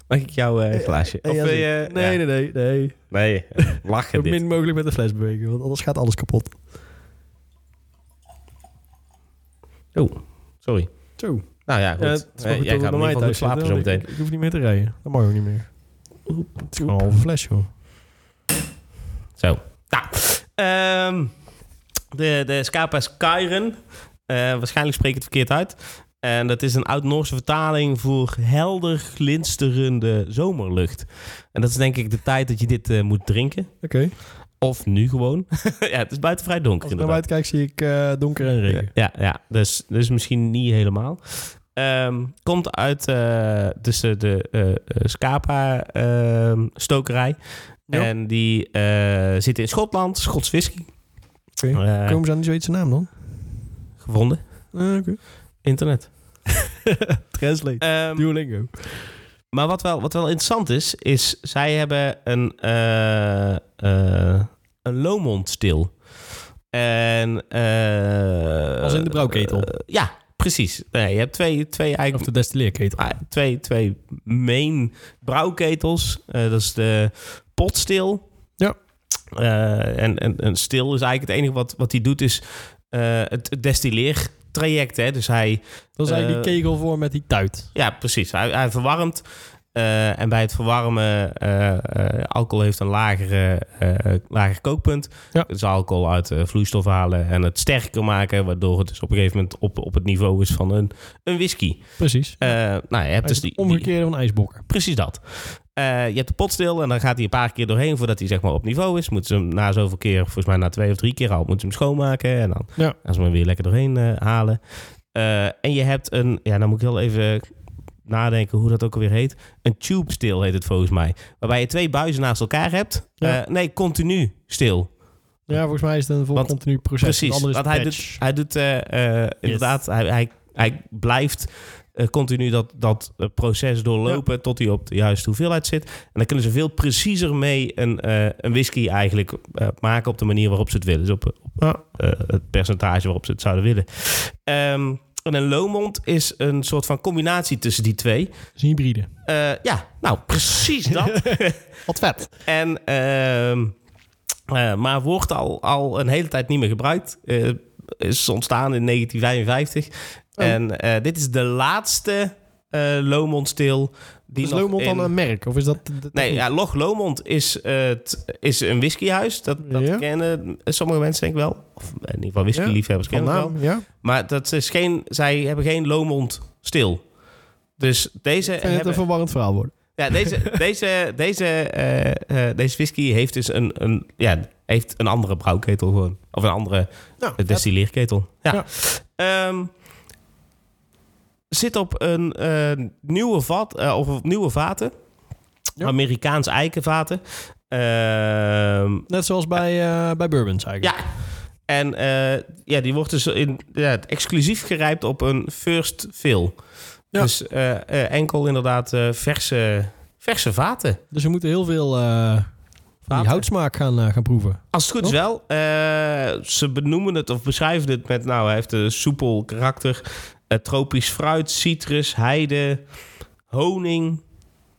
Mag ik jouw eh, glaasje? Eh, ja, wil zie. je- nee, ja. nee, nee, nee. nee. eh, Zo Lachen dit. min mogelijk met de fles bewegen, want anders gaat alles kapot. Sorry. Zo. Nou ja, goed. Ja, het is wel Eh, goed jij dat gaat het in ieder bij mij geval weer thuis slapen zit, zo hè, want meteen. Ik, ik hoef niet meer te rijden. Dat mag ook niet meer. Het is gewoon een halve fles, joh. Zo. Nou, ehm, de, de Scapa Skyren. Eh, waarschijnlijk spreek ik het verkeerd uit. En dat is een oud-Noorse vertaling voor helder glinsterende zomerlucht. En dat is denk ik de tijd dat je dit eh, moet drinken. Oké. Of nu gewoon. <laughs> ja, het is buiten vrij donker Als ik naar buiten kijk, zie ik eh, donker en Ja, regen. ja, ja. Dus, dus misschien niet helemaal. Ehm, komt uit eh, dus de, de eh, eh, Scapa ehm, stokerij. Ja. En die eh, zitten in Schotland, Schots whisky. Oké. Eh, Komen ze aan die Zweedse naam dan? gevonden. Ah, Oké. Internet. Translate. Ehm, Duolingo. Maar wat wel, wat wel interessant is, is zij hebben een, eh eh, een loonmondstil. En, eh, Als in de brouwketel. eh, ja, precies. Nee, je hebt twee, twee, Of eigenlijk, de destilleerketel. ah, twee, twee main brouwketels. Eh, dat is de potstil. Ja. Eh, en, en, en stil is eigenlijk het enige wat, wat hij doet is eh, het, het destilleertraject. Hè? Dus hij Dat is eigenlijk die eh, kegel voor met die tuit. ja, precies. Hij, hij verwarmt. eh, en bij het verwarmen, eh, eh, alcohol heeft een lagere, eh, lager kookpunt. Ja. Dus alcohol uit eh, vloeistof halen en het sterker maken. Waardoor het dus op een gegeven moment op, op het niveau is van een, een whisky. Precies. Eh, nou, je hebt dus die, die- Omgekeerde van ijsbokken. precies dat. Eh, je hebt de pot stil en dan gaat hij een paar keer doorheen voordat hij zeg maar op niveau is. Moeten ze hem na zoveel keer, volgens mij na twee of drie keer al, moeten ze hem schoonmaken. En dan Ja. gaan ze hem weer lekker doorheen eh, halen. Eh, en je hebt een, ja, dan moet ik heel even nadenken hoe dat ook alweer heet. Een tube stil heet het volgens mij. Waarbij je twee buizen naast elkaar hebt. Ja. Eh, nee, continu stil. Ja, volgens mij is het een vol Want- continu proces. Het Precies. andere is Want hij patch. doet, hij doet eh, eh, inderdaad, hij, hij, hij blijft eh, continu dat, dat eh, proces doorlopen tot hij op de juiste hoeveelheid zit. En dan kunnen ze veel preciezer mee een, eh, een whisky eigenlijk eh, maken op de manier waarop ze het willen. Dus op, op Ja. eh, het percentage waarop ze het zouden willen. Ehm, en een Lomond is een soort van combinatie tussen die twee. Het is een hybride. Eh, ja, nou precies dat. Wat vet. En, ehm, eh, maar wordt al, al een hele tijd niet meer gebruikt. Eh, is ontstaan in 1955. Oh. En eh, dit is de laatste eh Lomond stil. Die Is nog Lomond dan in- een merk? Of is dat... de- de- Nee, ja, Loch Lomond is, eh, het- is een whiskyhuis. Dat, dat Ja. kennen sommige mensen denk ik wel. Of in ieder geval whiskyliefhebbers Van kennen het wel. naam, ja? Maar dat is geen, zij hebben geen Lomond stil. Dus deze Ik vind het hebben... een verwarrend verhaal worden. Ja, <laughs> deze, deze, deze, eh, eh, deze whisky heeft dus een, een, ja, heeft een andere brouwketel gewoon. Of een andere Nou, eh, destilleerketel. Ja. Ja. Ehm, zit op een eh, nieuwe vat, eh, of op nieuwe vaten. Ja. Amerikaans eikenvaten. Ehm, Net zoals bij, eh, bij Bourbons eigenlijk. ja. En eh, ja, die wordt dus in, ja, exclusief gerijpt op een first fill. Ja. Dus eh, eh, enkel inderdaad eh, verse, verse vaten. Dus we moeten heel veel eh, van Water. die houtsmaak gaan, eh, gaan proeven. Als het goed is wel. Eh, ze benoemen het of beschrijven het met... Nou, hij heeft een soepel karakter. eh, tropisch fruit, citrus, heide, honing.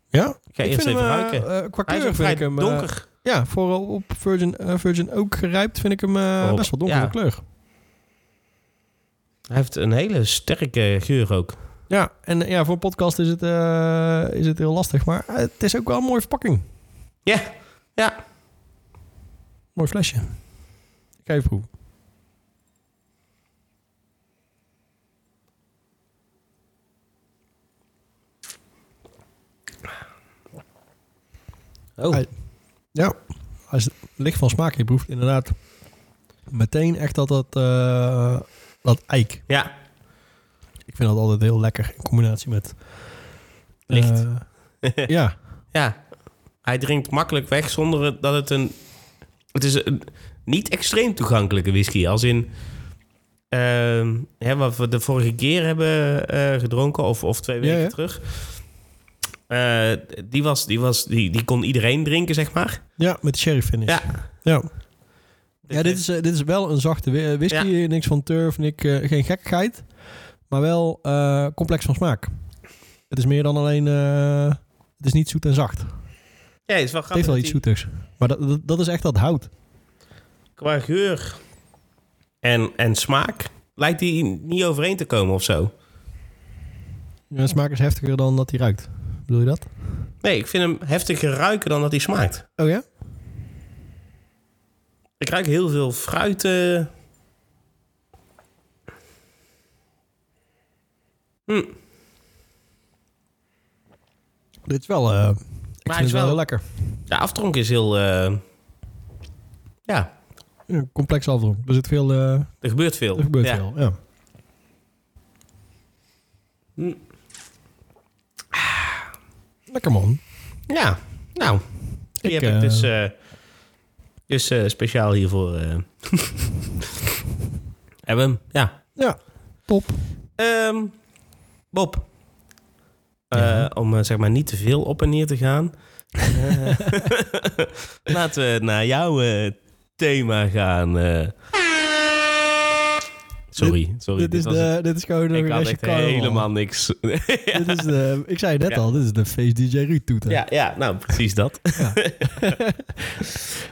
Ja? Ik ga eerst even ruiken. qua hij is kleur ook eh, vind vrij ik hem... eh, donker. ja, vooral op Virgin, eh, Virgin Oak gerijpt vind ik hem eh, Op- best wel donker ja. van kleur. Hij heeft een hele sterke geur ook. Ja, en eh, ja, voor een podcast is het, eh, is het heel lastig. Maar eh, het is ook wel een mooie verpakking. Ja, ja. Mooi flesje. Ik ga even proeven. Oh. Hij- Ja, als het licht van smaak je proeft inderdaad meteen echt dat dat, eh, dat eik. Ja, <laughs> Ik vind dat altijd heel lekker in combinatie met... eh, Licht. ja, ja. Hij drinkt makkelijk weg zonder het- dat het een... Het is een niet extreem toegankelijke whisky. Als in... ehm, hè, wat we de vorige keer hebben eh, gedronken, of, of twee Ja, weken ja. terug. Eh, die, was, die, was, die, die kon iedereen drinken, zeg maar. ja, met de sherry finish. Ja. ja. Ja, dit is, eh, dit is wel een zachte wi- eh, whisky. Niks van turf, niks, eh, geen gekkigheid. Maar wel eh, complex van smaak. Het is meer dan alleen... eh, het is niet zoet en zacht. Ja, het is wel Het grappig. heeft wel dat iets die- zoeters. Maar dat, dat, dat is echt dat hout. Qua geur en, en smaak lijkt die niet overeen te komen of zo. Ja, De smaak is heftiger dan dat hij ruikt. Bedoel je dat? Nee, ik vind hem heftiger ruiken dan dat hij smaakt. Oh ja? Ik ruik heel veel fruit. eh. Hm. Dit is wel... eh is ik vind het wel wel- heel lekker. De aftronk is heel... eh, Ja, Ja, complex afdronk. Er zit veel... eh, er gebeurt veel. er gebeurt ja. veel, ja. Mm. Lekker man. Ja, nou. Die Ik, heb ik eh, dus, eh, dus eh, speciaal hiervoor. eh <laughs> hebben we hem, ja. Ja, top. Ehm, Bob, Eh, Ja. Om eh, zeg maar niet te veel op en neer te gaan. Eh, <laughs> laten we naar jouw eh, thema gaan. eh. Sorry, sorry. dit, is was de, dit is gewoon het. een Ik had restje echt carnaval. helemaal niks. <laughs> <laughs> Dit is de, ik zei het net Ja. al, dit is de Face DJ Ruud toeter. ja, ja, nou precies dat. <laughs>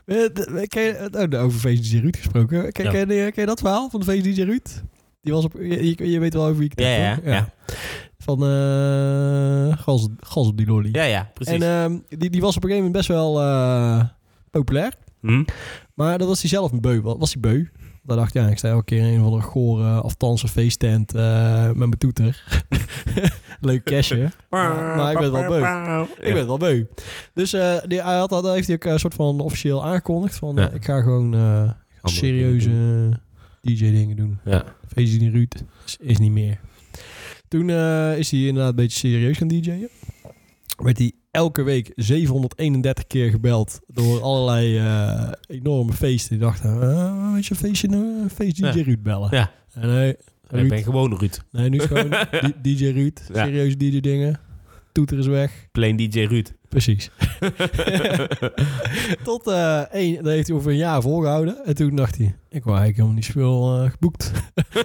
Eh, de- Ken je, oh, over Face DJ Ruud gesproken. Ken, Ja. ken, je, ken je dat verhaal van de Face DJ Ruud? Die was op, je, je- je weet wel over wie ik het Ja, heb, ja, toch? ja. Van eh gas, gas op die lolly. Ja, ja, precies. en ehm, die, die was op een gegeven moment best wel eh, populair. Hm? Maar dat was hij zelf een beu. Wa- Was hij beu? Daar dacht ik, ja, ik sta elke keer in een of andere gore aftansen feesttent eh, met mijn toeter. <laughs> Leuk cashje. Maar- maar ik ben wel beu. Ik ben het wel beu. Dus eh, die, hij had, dat heeft hij ook eh, een soort van officieel aangekondigd. Van, Ja. eh, ik ga gewoon eh, serieuze DJ-dingen doen. Ja. Feestje in Ruud is, is niet meer. Toen eh, is hij inderdaad een beetje serieus gaan DJ'en. Werd hij elke week 731 keer gebeld door allerlei eh, enorme feesten. Die dachten, eh, weet je, een feestje, eh, een feest DJ Ja. Ruud bellen. Ja. En nee, Ik Ruud, ben gewoon Ruud. nee, nu is <laughs> gewoon <laughs> D- DJ Ruud, Ja. serieuze DJ dingen. Toeter is weg. Plain DJ <laughs> Ruud. Precies. Tot eh één, dat heeft hij over een jaar volgehouden. En toen dacht hij, ik wou eigenlijk helemaal niet zoveel eh, geboekt.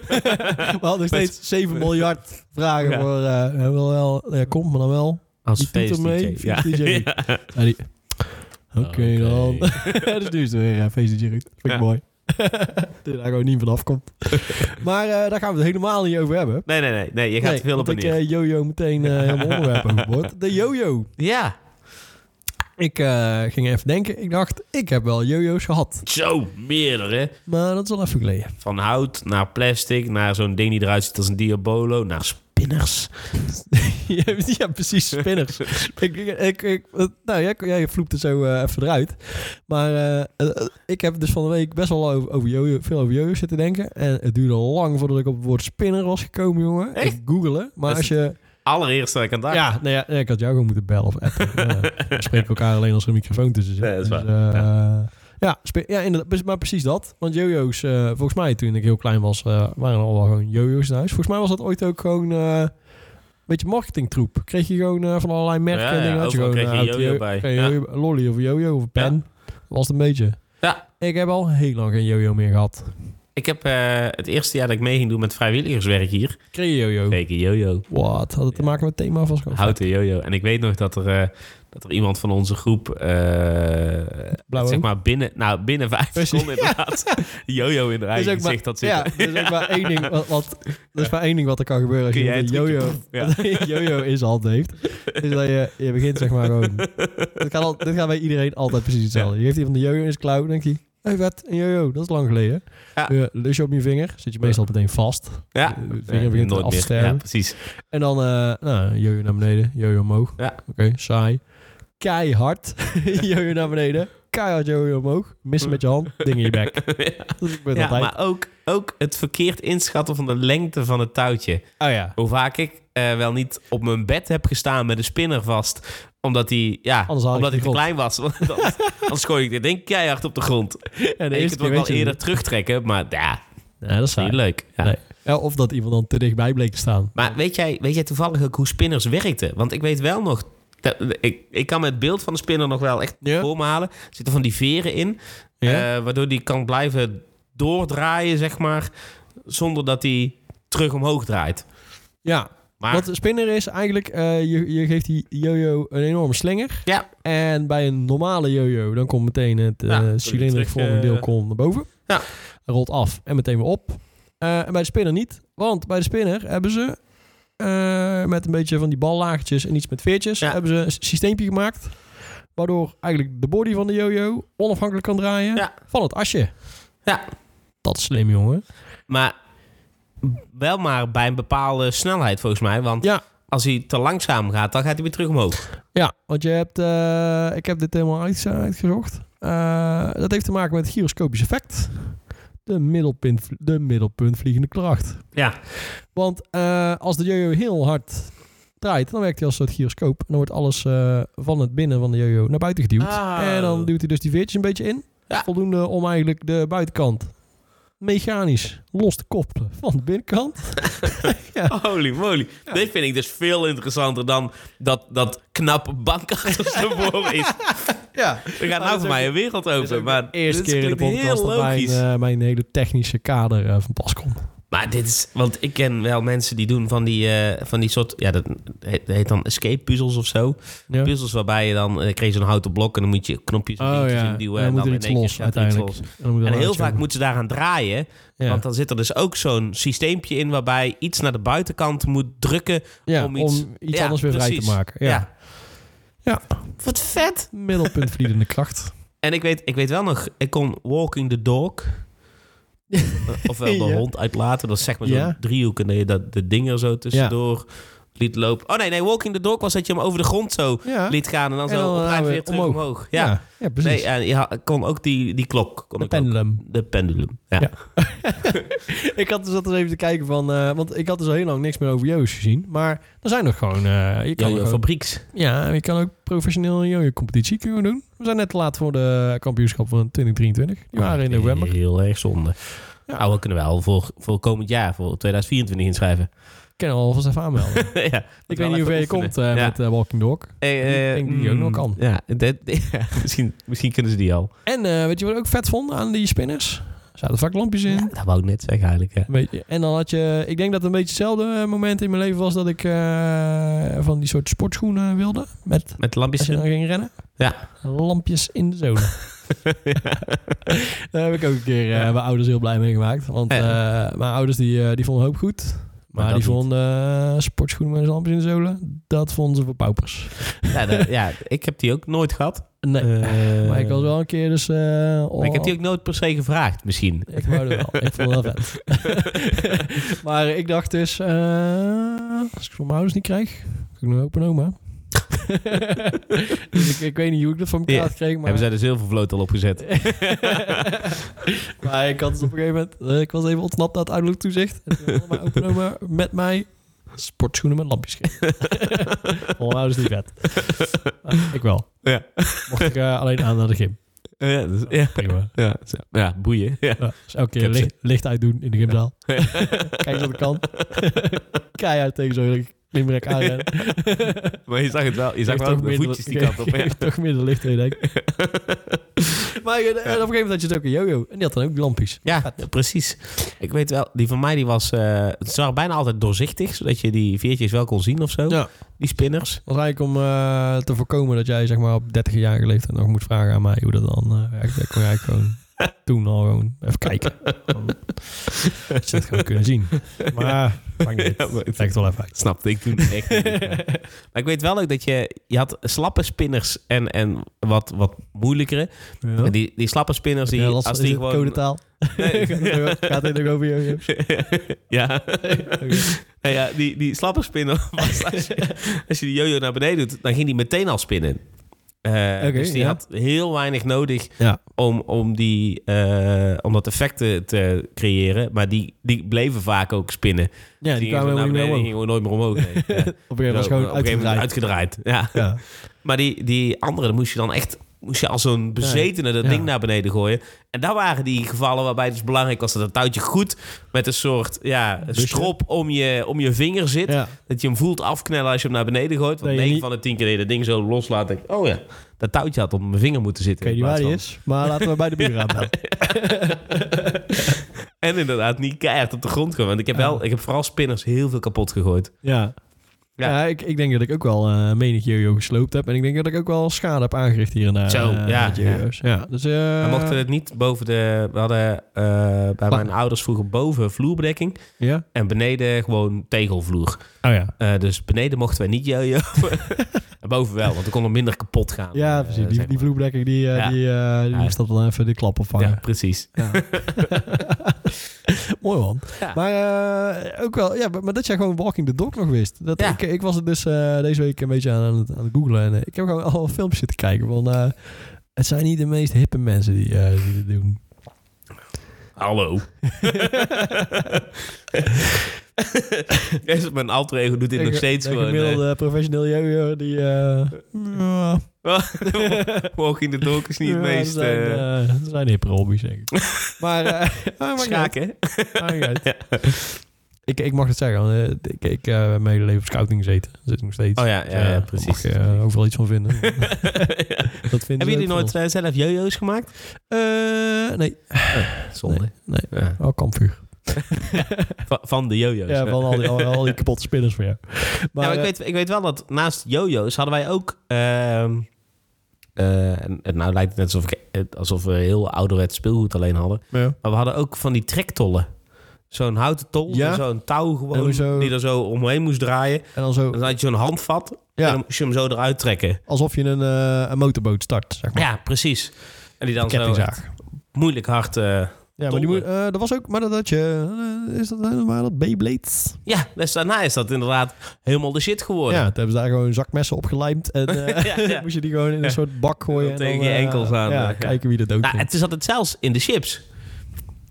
<laughs> We hadden nog steeds 7 miljard vragen Ja. voor, eh hij wil wel, ja, kom maar dan wel. Als Die feest titel mee, DJ. <laughs> Ja. feest DJ Ruud. En die, Oké dan. <laughs> <laughs> dus nu is het weer eh, feestje Jerut. Vind ik Ja. mooi. dat daar gewoon niet vanaf <laughs> komt. maar eh, daar gaan we het helemaal niet over hebben. Nee, nee, nee, nee. Je gaat Nee, te veel op en want neer. ik eh, jojo <laughs> meteen eh helemaal onderwerp overboord. De jojo. ja. Ik eh, ging even denken. Ik dacht, ik heb wel jojo's gehad. Zo, meerdere. Maar dat is al even geleden. Van hout naar plastic, naar zo'n ding die eruit ziet als een diabolo, naar spinners. <laughs> ja, ja, precies. Spinners. ik, ik, ik, ik- nou, jij, jij vloept er zo eh, even eruit. Maar eh, eh, ik heb dus van de week best wel over, over jojo, veel over jojo zitten denken. En het duurde lang voordat ik op het woord spinner was gekomen, jongen. Echt? Ik googelen. Maar Dat als is je... Allereerst dat ik aan dacht. Ja, nou ja, ik had jou gewoon moeten bellen of <laughs> appen. ja, we spreken elkaar alleen als er een microfoon tussen zit. Nee, dat is Dus, waar. eh, Ja. ja. spe- ja, inderdaad, dus- maar precies dat. Want jojo's, eh, volgens mij toen ik heel klein was, eh, waren er al wel gewoon jojo's in huis. Volgens mij was dat ooit ook gewoon eh, een beetje marketingtroep. Kreeg je gewoon eh, van allerlei merken Ja, en dingen. ja, had je overal gewoon kreeg je eh, jojo jo- bij. kreeg Ja. jojo- een lolly of een jojo of een pen. Was het een beetje. Ja. Ik heb al heel lang geen jojo meer gehad. Ik heb eh, het eerste jaar dat ik mee ging doen met vrijwilligerswerk hier. Kreeg je jojo? Kreeg ik een jojo. Wat? Had het te Ja. maken met het thema vast? Houten jojo. En ik weet nog dat er, eh, dat er iemand van onze groep... eh, Blauw zeg ook? maar binnen, nou, binnen vijf Precies. <laughs> seconden inderdaad. Jojo in de Er eigen gezicht had zitten. Dus Ja, <laughs> dus er is ook maar één ding wat, wat, er is maar één ding wat er kan gebeuren als Kun je jij een het jojo, Ja. wat <laughs> een jojo in zijn hand heeft. Is dat je, je begint zeg maar <laughs> gewoon... Dit gaat, al, dit gaat bij iedereen altijd precies hetzelfde. Je heeft iemand een jojo in zijn klauw, dan denk je... Hé, hey, wat? Een jojo, dat is lang geleden. Ja. Eh, lus je op je vinger, zit je meestal meteen vast. Ja. De vinger begint Nooit af te meer. sterven. Ja, precies. En dan, eh nou, jojo naar beneden, jojo omhoog. Ja. Oké, saai. <laughs> Keihard. <laughs> jojo naar beneden. Keihard jojo omhoog. Missen met je hand, ding in je <laughs> bek. Dat gebeurt Ja, altijd. maar ook, ook het verkeerd inschatten van de lengte van het touwtje. Oh ja. Hoe vaak ik eh, wel niet op mijn bed heb gestaan met een spinner vast. Omdat hij, ja, Anders haal ik omdat de ik te grond. klein was. <laughs> Want <laughs> Anders, anders gooi ik dit ding keihard op de grond. En de ik eerste het ook keer wel weet je het eerder terugtrekken, maar ja, niet. Ja, dat is niet saai. leuk. Ja. Nee. Ja, of dat iemand dan te dichtbij bleek te staan. Maar weet jij, weet jij toevallig ook hoe spinners werkten? Want ik weet wel nog... dat- ik, ik kan me het beeld van de spinner nog wel echt Ja. voor me halen. Er zitten van die veren in. Eh, waardoor die kan blijven doordraaien, zeg maar. Zonder dat hij terug omhoog draait. ja. Maar Wat spinner is eigenlijk, eh, je, je geeft die jojo een enorme slinger. Ja. En bij een normale jojo, dan komt meteen het Ja, eh terug- cilindervormige terug, eh, deel komt naar boven. Ja. Rolt af en meteen weer op. Eh, en bij de spinner niet, want bij de spinner hebben ze eh, met een beetje van die ballaagjes en iets met veertjes, Ja. hebben ze een systeempje gemaakt. Waardoor eigenlijk de body van de jojo onafhankelijk kan draaien Ja. van het asje. Ja. Dat is slim, jongen. Maar wel maar bij een bepaalde snelheid, volgens mij. Want Ja. als hij te langzaam gaat, dan gaat hij weer terug omhoog. Ja, want je hebt, eh, ik heb dit helemaal uit- uitgezocht. Eh, dat heeft te maken met het gyroscopisch effect. De, middelpunt, de middelpuntvliegende kracht. Ja. Want eh, als de jojo heel hard draait, dan werkt hij als een soort gyroscoop. En dan wordt alles eh, van het binnen van de jojo naar buiten geduwd. Ah. En dan duwt hij dus die veertjes een beetje in. Ja. Voldoende om eigenlijk de buitenkant mechanisch los te koppelen van de binnenkant. <laughs> Holy moly. Dit vind ik dus veel interessanter dan dat, dat knappe bankachterstevoren is. Ja, We gaan nou voor mij een wereld open. Maar eerste dit keer in de klinkt podcast heel dat mijn, logisch. eh, mijn hele technische kader eh, van pas komt. Maar dit is... Want ik ken wel mensen die doen van die, eh, van die soort... Ja, dat heet, dat heet dan escape puzzels of zo. Ja. Puzzels waarbij je dan... eh, kreeg je zo'n houten blok en dan moet je knopjes en Oh dingetjes ja, induwen. en dan moet er in iets één keer los gaat er iets uiteindelijk. los. dan moet er En wel heel iets vaak over. moeten ze daaraan draaien. Ja. Want dan zit er dus ook zo'n systeempje in... waarbij iets naar de buitenkant moet drukken... Ja, om iets- Ja, anders weer vrij te precies. maken. Ja. Ja. Ja. Wat vet. Middelpunt verliedende kracht. En ik weet, ik weet wel nog, ik kon Walking the <laughs> Dog. eh, Ofwel de Ja. hond uitlaten. Dat is zeg maar zo'n Ja. driehoek. En dat je dat, de dingen zo tussendoor liet lopen. Oh nee, nee, Walking the Dog was dat je hem over de grond zo Ja. liet gaan. En dan En zo dan eh, op weer weer terug omhoog. omhoog. Ja, ja. ja, precies. nee, en je ha- kon ook die, die klok. Kon de ik ook. pendulum. De pendulum. Ja. Ja. <laughs> ik had dus altijd even te kijken van... eh, want ik had dus al heel lang niks meer over Jo's gezien. Maar er zijn nog gewoon... eh, Jojo je kan nog gewoon- Fabrieks. ja, je kan ook professioneel Jojo-competitie kunnen doen. We zijn net te laat voor de kampioenschap van 2023. Die waren in november. Ah, Heel erg zonde. Ja. Nou, we kunnen wel voor, voor komend jaar, voor 2024 <laughs> inschrijven. Ik kan alvast even <laughs> aanmelden. ja, ik weet niet hoe ver je komt eh, Ja. met eh, Walking Dog. Eh, eh, Ik denk die ook nog mm, kan. Ja, dat- <laughs> ja, misschien, misschien kunnen ze die al. En eh, weet je wat ik ook vet vond aan die spinners? Er zaten vaak lampjes in. Ja, dat wou ik net zeggen eigenlijk. Ja. Weet je, En dan had je, ik denk dat het een beetje hetzelfde eh, moment in mijn leven was dat ik eh, van die soort sportschoenen eh, wilde. Met Met lampjes. als je in. <laughs> dan ging rennen. Ja. Lampjes in de zone. <laughs> Daar heb ik ook een keer eh, mijn ouders heel blij mee gemaakt. Want Ja. eh, mijn ouders die, eh, die vonden hoop goed. Maar, dat die niet. vonden eh, sportschoenen met lampjes in de zolen, dat vonden ze voor paupers. Ja, dat- ja, ik heb die ook nooit gehad. Nee, Eh, <laughs> maar ik was wel een keer dus... eh, maar ik heb oh, die ook nooit per se gevraagd, misschien. Ik wou er wel. ik vond het wel vet. maar ik dacht dus, eh, als ik het van mijn ouders niet krijg, kan ik nog open oma. dus ik, ik weet niet hoe ik dat van elkaar Ja, kreeg, maar... <laughs> Hebben zij de zilvervloot al opgezet? <laughs> maar ik had dus op een gegeven moment, eh, ik was even ontsnapt uit uiterlijk toezicht. En toen hadden mijn open oma met mij sportschoenen met lampjes gegeven. Van mijn ouders niet vet. Maar ik wel. Ja. Mocht ik eh, alleen aan naar de gym. ja, dus- ja, Prima. ja, zo. ja, boeien. Ja. Ja, dus elke Ik keer heb ze. licht, licht uitdoen in de gymzaal. Kijk eens aan de <laughs> kant. Keihard tegen zo'n klimrek aanrennen. Maar je zag het wel. Je zag Geeft wel toch de minder- <laughs> voetjes die kant op. Ja. geeft toch minder licht in, denk ik. <laughs> Maar eh, op een gegeven moment had je het ook een jojo. En die had dan ook lampjes. Ja, precies. Ik weet wel, die van mij die was... eh het zag bijna altijd doorzichtig, zodat je die veertjes wel kon zien of zo. Ja. Die spinners. Dat was eigenlijk om eh, te voorkomen dat jij zeg maar, op 30-jarige leeftijd nog moet vragen aan mij hoe dat dan eh, werkt. Dat kon jij gewoon <laughs> toen al gewoon even kijken. <laughs> Dan had je dat gewoon kunnen zien. <laughs> Maar maakt <laughs> niet uit. Ja, maar- Het lijkt wel even uit. Snapte ik toen echt niet. <laughs> maar ik weet wel ook dat je... Je had slappe spinners en, en wat, wat moeilijkere. Ja. Die, die slappe spinners, die, Ja, last- als is die het gewoon... codetaal? <laughs> Nee. Gaat het nog- Gaat het nog over <laughs> jojo? <laughs> ja. Oké. Nou ja, die, die slappe spinner was... Als <laughs> je, als je die jojo naar beneden doet, dan ging die meteen al spinnen. Eh, dus die ja. had heel weinig nodig Ja. om, om, die, eh, om dat effect te- te creëren. Maar die, die bleven vaak ook spinnen. Ja, die gingen zo kwamen helemaal naar niet meer beneden, omhoog. die gingen nooit meer omhoog. nee. <laughs> Ja. Op een gegeven moment was gewoon op een gegeven moment uitgedraaid. uitgedraaid. Ja. Ja. <laughs> Maar die, die andere dan moest je dan echt... Moest je als een bezetene dat Ja. ding naar beneden gooien. En daar waren die gevallen waarbij het dus belangrijk was... dat het touwtje goed met een soort ja, Busje. strop om je, om je vinger zit. Ja. Dat je hem voelt afknellen als je hem naar beneden gooit. Dat Want je 9 niet- van de 10 keer dat je dat ding zo loslaat... denk ik, oh ja, dat touwtje had op mijn vinger moeten Ik zitten. weet niet in waar plaats die van- is, maar laten we bij de <laughs> buren aanbellen. En inderdaad niet keihard op de grond gewoon. Want ik heb, wel, ik heb vooral spinners heel veel kapot gegooid. Ja. Ja. Ja, ik, ik denk dat ik ook wel eh menig jojo gesloopt heb. En ik denk dat ik ook wel schade heb aangericht hier en daar. Zo, eh, ja, met jojo's. Ja. Dus, eh, We mochten het niet boven de... We hadden eh, bij mijn ouders vroeger boven vloerbedekking... Ja? en beneden gewoon tegelvloer. Oh ja. Eh, dus beneden mochten wij niet <laughs> jojo. en boven wel, want er kon er minder kapot gaan. Ja, eh, precies. zeg Die, maar. die vloerbedekking, die, eh, Ja. die, eh, die Ja. moest dat wel even de klap Ja, opvangen. precies. <laughs> Mooi man. Ja. Maar eh, ook wel, ja, maar maar dat jij gewoon Walking the Dog nog wist. Dat Ja. ik, ik was het dus eh, deze week een beetje aan, aan het, aan het googlen. En eh, ik heb gewoon <laughs> al filmpjes zitten kijken. Want eh, het zijn niet de meest hippe mensen die, eh, die <laughs> dit doen. Hallo. Dus Mijn alter ego doet dit nog steeds de gewoon. eh, gemiddelde professioneel jojo die... eh, ja. eh, <laughs> Walk in the dog is niet Ja, het meest... Dat zijn, eh, eh, dat zijn hippe hobby's, denk <laughs> ik. maar... eh, maar maakt niet uit. schaken. Maakt niet uit. Ik, ik mag het zeggen, want eh, ik, ik eh, heb mijn hele leven op scouting gezeten. Dat zit nog steeds. Oh ja, Dus, ja, eh, ja, daar precies. Mag je <laughs> eh, overal iets van vinden. dat vinden Hebben ze jullie ook nooit van eh, zelf jojo's gemaakt? ons. Eh, nee. Zonde. Nee. <laughs> Ja. Oh, kampvuur. Va- Van de jojo's. Ja, van al die, al, al <laughs> die kapotte spinners van jou. Ja, Maar, maar eh, Nou, ik, weet, ik weet wel dat naast jojo's hadden wij ook... ehm, eh, en, en nou lijkt het net alsof, ik, eh, alsof we heel ouderwets speelgoed alleen hadden. ja. Maar we hadden ook van die trektollen. Zo'n houten tol, Ja. en zo'n touw gewoon, En zo- die er zo omheen moest draaien. En dan zo, En dan had je zo'n handvat en dan ja, moest je hem zo eruit trekken. alsof je een, eh, een motorboot start, zeg maar. Ja, precies. En die dan zo eh, Kettingzaag. moeilijk hard... eh, Ja, maar die moet, Donder. eh, dat was ook, maar dat had je, eh, is dat helemaal dat Beyblades? ja, dus daarna is dat inderdaad helemaal de shit geworden. Ja, toen hebben ze daar gewoon zakmessen <laughs> opgelijmd en eh, Oh, Ja, ja. <laughs> moest je die gewoon in een Ja. soort bak gooien. Dan en tegen je eh, enkels aan, Ja, ja. kijken wie dat ook Nou, het zat het zelfs in de chips.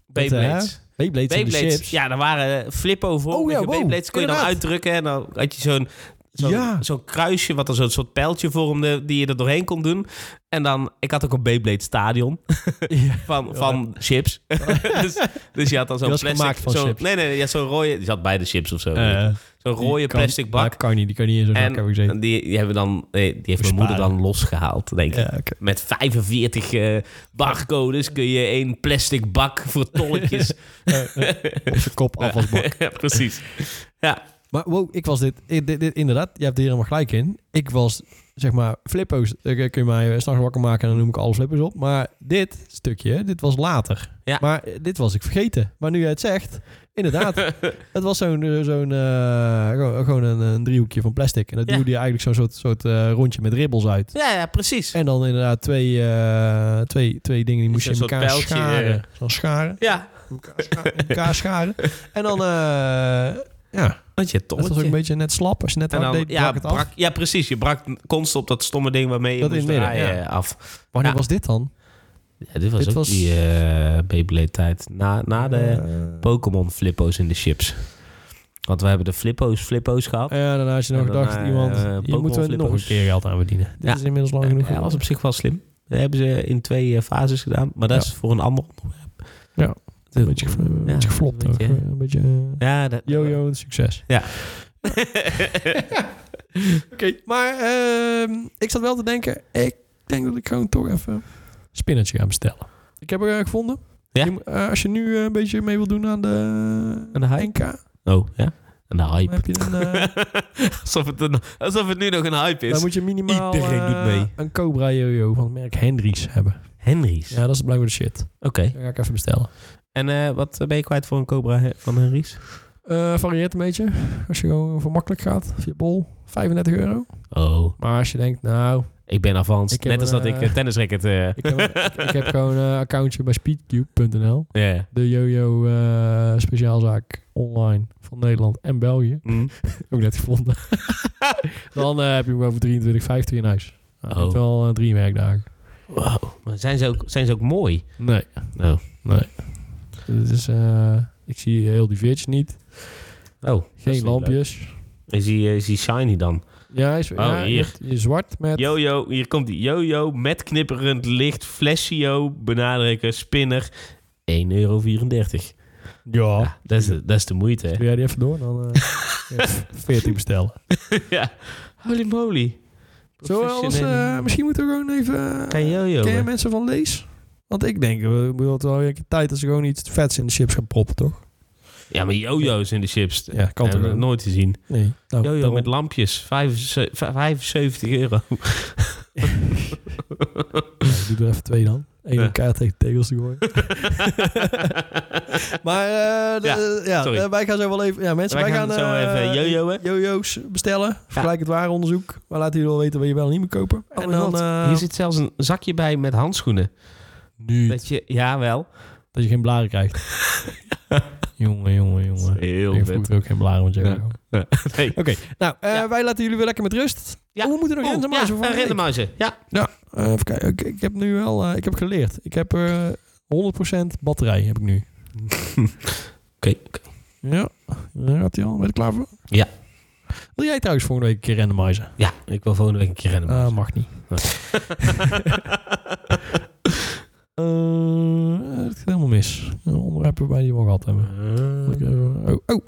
Beyblades. eh, Beyblades, in de Beyblades, chips. ja, daar waren eh, flippo voor. Oh ja, wow, Beyblades kon je dan inderdaad. uitdrukken en dan had je zo'n zo'n Ja. zo'n kruisje wat er zo'n soort pijltje vormde die je er doorheen kon doen. En dan, ik had ook een Beyblade stadion <laughs> Ja. van, van <laughs> chips. dus, dus je had dan zo'n Die was plastic... gemaakt van zo'n- chips. Nee, nee, je had zo'n rode... Die zat bij de chips of zo. Eh, zo'n die rode kan- plastic bak. Ja, kan niet, die kan niet in zo'n bak hebben gezeten. <laughs> En die, die hebben dan... nee, die heeft mijn moeder Besparen. dan losgehaald, denk ik. Ja, oké. <laughs> Met 45 eh, barcodes kun je één plastic bak voor <laughs> tolletjes. Op zijn kop afwasbak. <laughs> ja, precies. Ja, Maar wow, ik was dit, dit, dit- inderdaad, je hebt hier helemaal gelijk in. Ik was, zeg maar, flippo's, eh, kun je mij eh, s'nachts wakker maken en dan noem ik alle flippo's op. Maar dit stukje, dit was later. Ja. Maar eh, dit was ik vergeten. Maar nu jij het zegt, inderdaad. <laughs> het was zo'n, eh, zo'n eh, gewoon, gewoon een, een driehoekje van plastic. En dat Ja. duwde je eigenlijk zo'n soort, soort eh, rondje met ribbels uit. ja, ja precies. En dan inderdaad twee, eh, twee, twee dingen die moest je Zo'n in soort elkaar pijltje, scharen. eh. Zo'n scharen. Ja, Elkaar scharen. elkaar scharen. En dan, eh, ja, want je dat was ook een tolletje. beetje net slap. Als je net En hard dan, deed, ja, brak het af. brak- ja, precies. Je brak constant op dat stomme ding waarmee je Dat moest in het midden, draaien ja. eh, af. Wanneer Ja. was dit dan? Ja, dit was Dit ook was- die eh Beyblade-tijd. Na, na de Eh, Pokémon-flippo's in de chips. Want we hebben de flippo's, flippo's gehad. ja, daarna had je En nog daarna, gedacht, iemand, eh, hier Pokémon moeten we nog flippers. een keer geld aan verdienen. Dit Ja. is inmiddels lang genoeg. ja, was op zich wel slim. Dat hebben ze in twee eh, fases gedaan. Maar dat Ja. is voor een ander onderwerp. Ja. een beetje, ge- een Ja, beetje geflopt. een ook. beetje- Een beetje eh, Ja, dat... <laughs> yo-yo en succes. Ja. Oké, maar ehm, ik zat wel te denken, ik denk dat ik gewoon toch even spinnetje ga bestellen. Ik heb er eh, gevonden. Ja? Je moet- eh, als je nu eh, een beetje mee wil doen aan de, Aan de hype? NK, Oh, ja? Een dan, hype. heb je een, eh, alsof, het een- alsof het nu nog een hype <laughs> dan is. moet je minimaal Iedereen doet eh, mee. een Cobra yo-yo van het merk Hendrix hebben. Henry's. Ja, dat is blijkbaar de shit. Oké. Dat ga ik even bestellen. En eh, wat ben je kwijt voor een Cobra he- van Henry's? Eh, varieert een beetje. Als je gewoon voor makkelijk gaat, via bol, 35 euro. Oh, Maar als je denkt, nou, ik ben avans. Ik heb Net als dat een, ik eh, eh, tennisracket... eh, ik heb, ik, ik <laughs> heb gewoon een accountje bij speedcube.nl. ja. De Jojo eh, speciaalzaak online van Nederland en België. Mm. Ook net gevonden. <laughs> Dan eh, heb je hem gewoon voor 23,50 in huis. Nou, Oh. dat is wel eh, drie werkdagen. Wauw. Maar zijn ze ook, zijn ze ook mooi? Nee. Oh. Nee. Dit is, eh, ik zie heel die veertjes niet. Oh, dat is Geen niet lampjes. leuk. Is die, eh, is die shiny dan? Ja, hij is, ja, je Oh, hier. hebt- je zwart met... Jojo, hier komt die. Jojo met knipperend licht, flesio, benadrukken, spinner. Oh. 1,34 euro. Ja. Ja, dat is, de- dat is de moeite, hè? Doe jij die even door, dan <laughs> eh, ja, 14 bestellen. ja. Holy moly. Zo, anders, Professionele- eh, misschien moeten we gewoon even... eh, Kan jojo. ken je mensen van Lees? Want ik denk, we moeten wel weer een keer tijd dat ze gewoon iets vets in de chips gaan proppen, toch? Ja, maar jojo's in de chips. Ja, kan Hebben toch we ook? nooit te zien. Nee. Nou, Jojo daarom. met lampjes. 75 75 euro. <laughs> Ja, doe er even twee dan. Eén Ja. elkaar tegen de tegels te <laughs> gooien. <laughs> Maar eh, de- Ja, de- ja, sorry. eh, wij gaan zo wel even... Ja, mensen, Wij wij, gaan gaan, zo eh, even jojoën. Jojo's bestellen. Vergelijk het ware onderzoek. Maar laten jullie wel weten wat je wel en niet meer kopen. Oh, en dan... eh, Hier zit zelfs een zakje bij met handschoenen. nu. Dat je, jawel. Dat je geen blaren krijgt. <laughs> jongen, jongen, jongen. Heel Ik vroeg ook geen blaren, want jij Ja. Nee. <laughs> Oké, nou, eh, Ja. wij laten jullie weer lekker met rust. Ja. Oh, we moeten nog Oeh, Rendermuizen voor ja, een van de week. rendermuizen. Ja. Eh, even kijken, ik, ik heb nu wel, eh, ik heb geleerd. Ik heb eh 100% batterij heb ik nu. Oké. oké. Ja, daar gaat hij al. Ben je er klaar voor? Ja. Wil jij trouwens volgende week een keer randomizen? Ja, ik wil volgende week een keer rennen. Ah, mag niet. Ah. <laughs> Eh, het gaat helemaal mis. Een onderwerp waarbij die we al gehad hebben. Moet ik even- Oh, oh.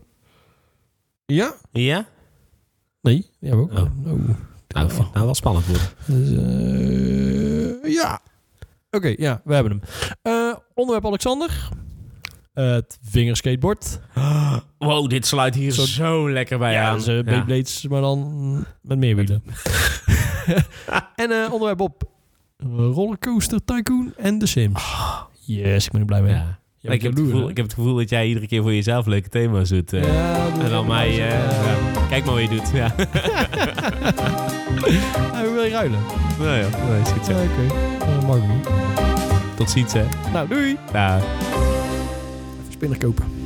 Ja? ja? Nee, die hebben we ook. Oh. Nou, Nou, ik vind het nou wel spannend worden. Dus, eh, ja. Oké, ja, we hebben hem. Eh, onderwerp Alexander. Eh, het vingerskateboard. Wow, dit sluit hier Zo- zo, lekker bij aan. dus, eh, Beyblades, maar dan met <laughs> meer wielen. en eh, onderwerp op Rollercoaster Tycoon en The Sims. Yes, ik ben er blij mee. Ja. Ah. Ja. ik, heb het gevoel, ik heb het gevoel dat jij iedere keer voor jezelf leuke thema's doet. eh. en dan mij... eh, ja. Kijk maar wat je doet. Ja. we willen ruilen. <laughs> nou ja, nee, is goed zo. Ja, Oké, dat mag niet. Tot ziens, hè. Nou, doei. Daag. Spinner kopen.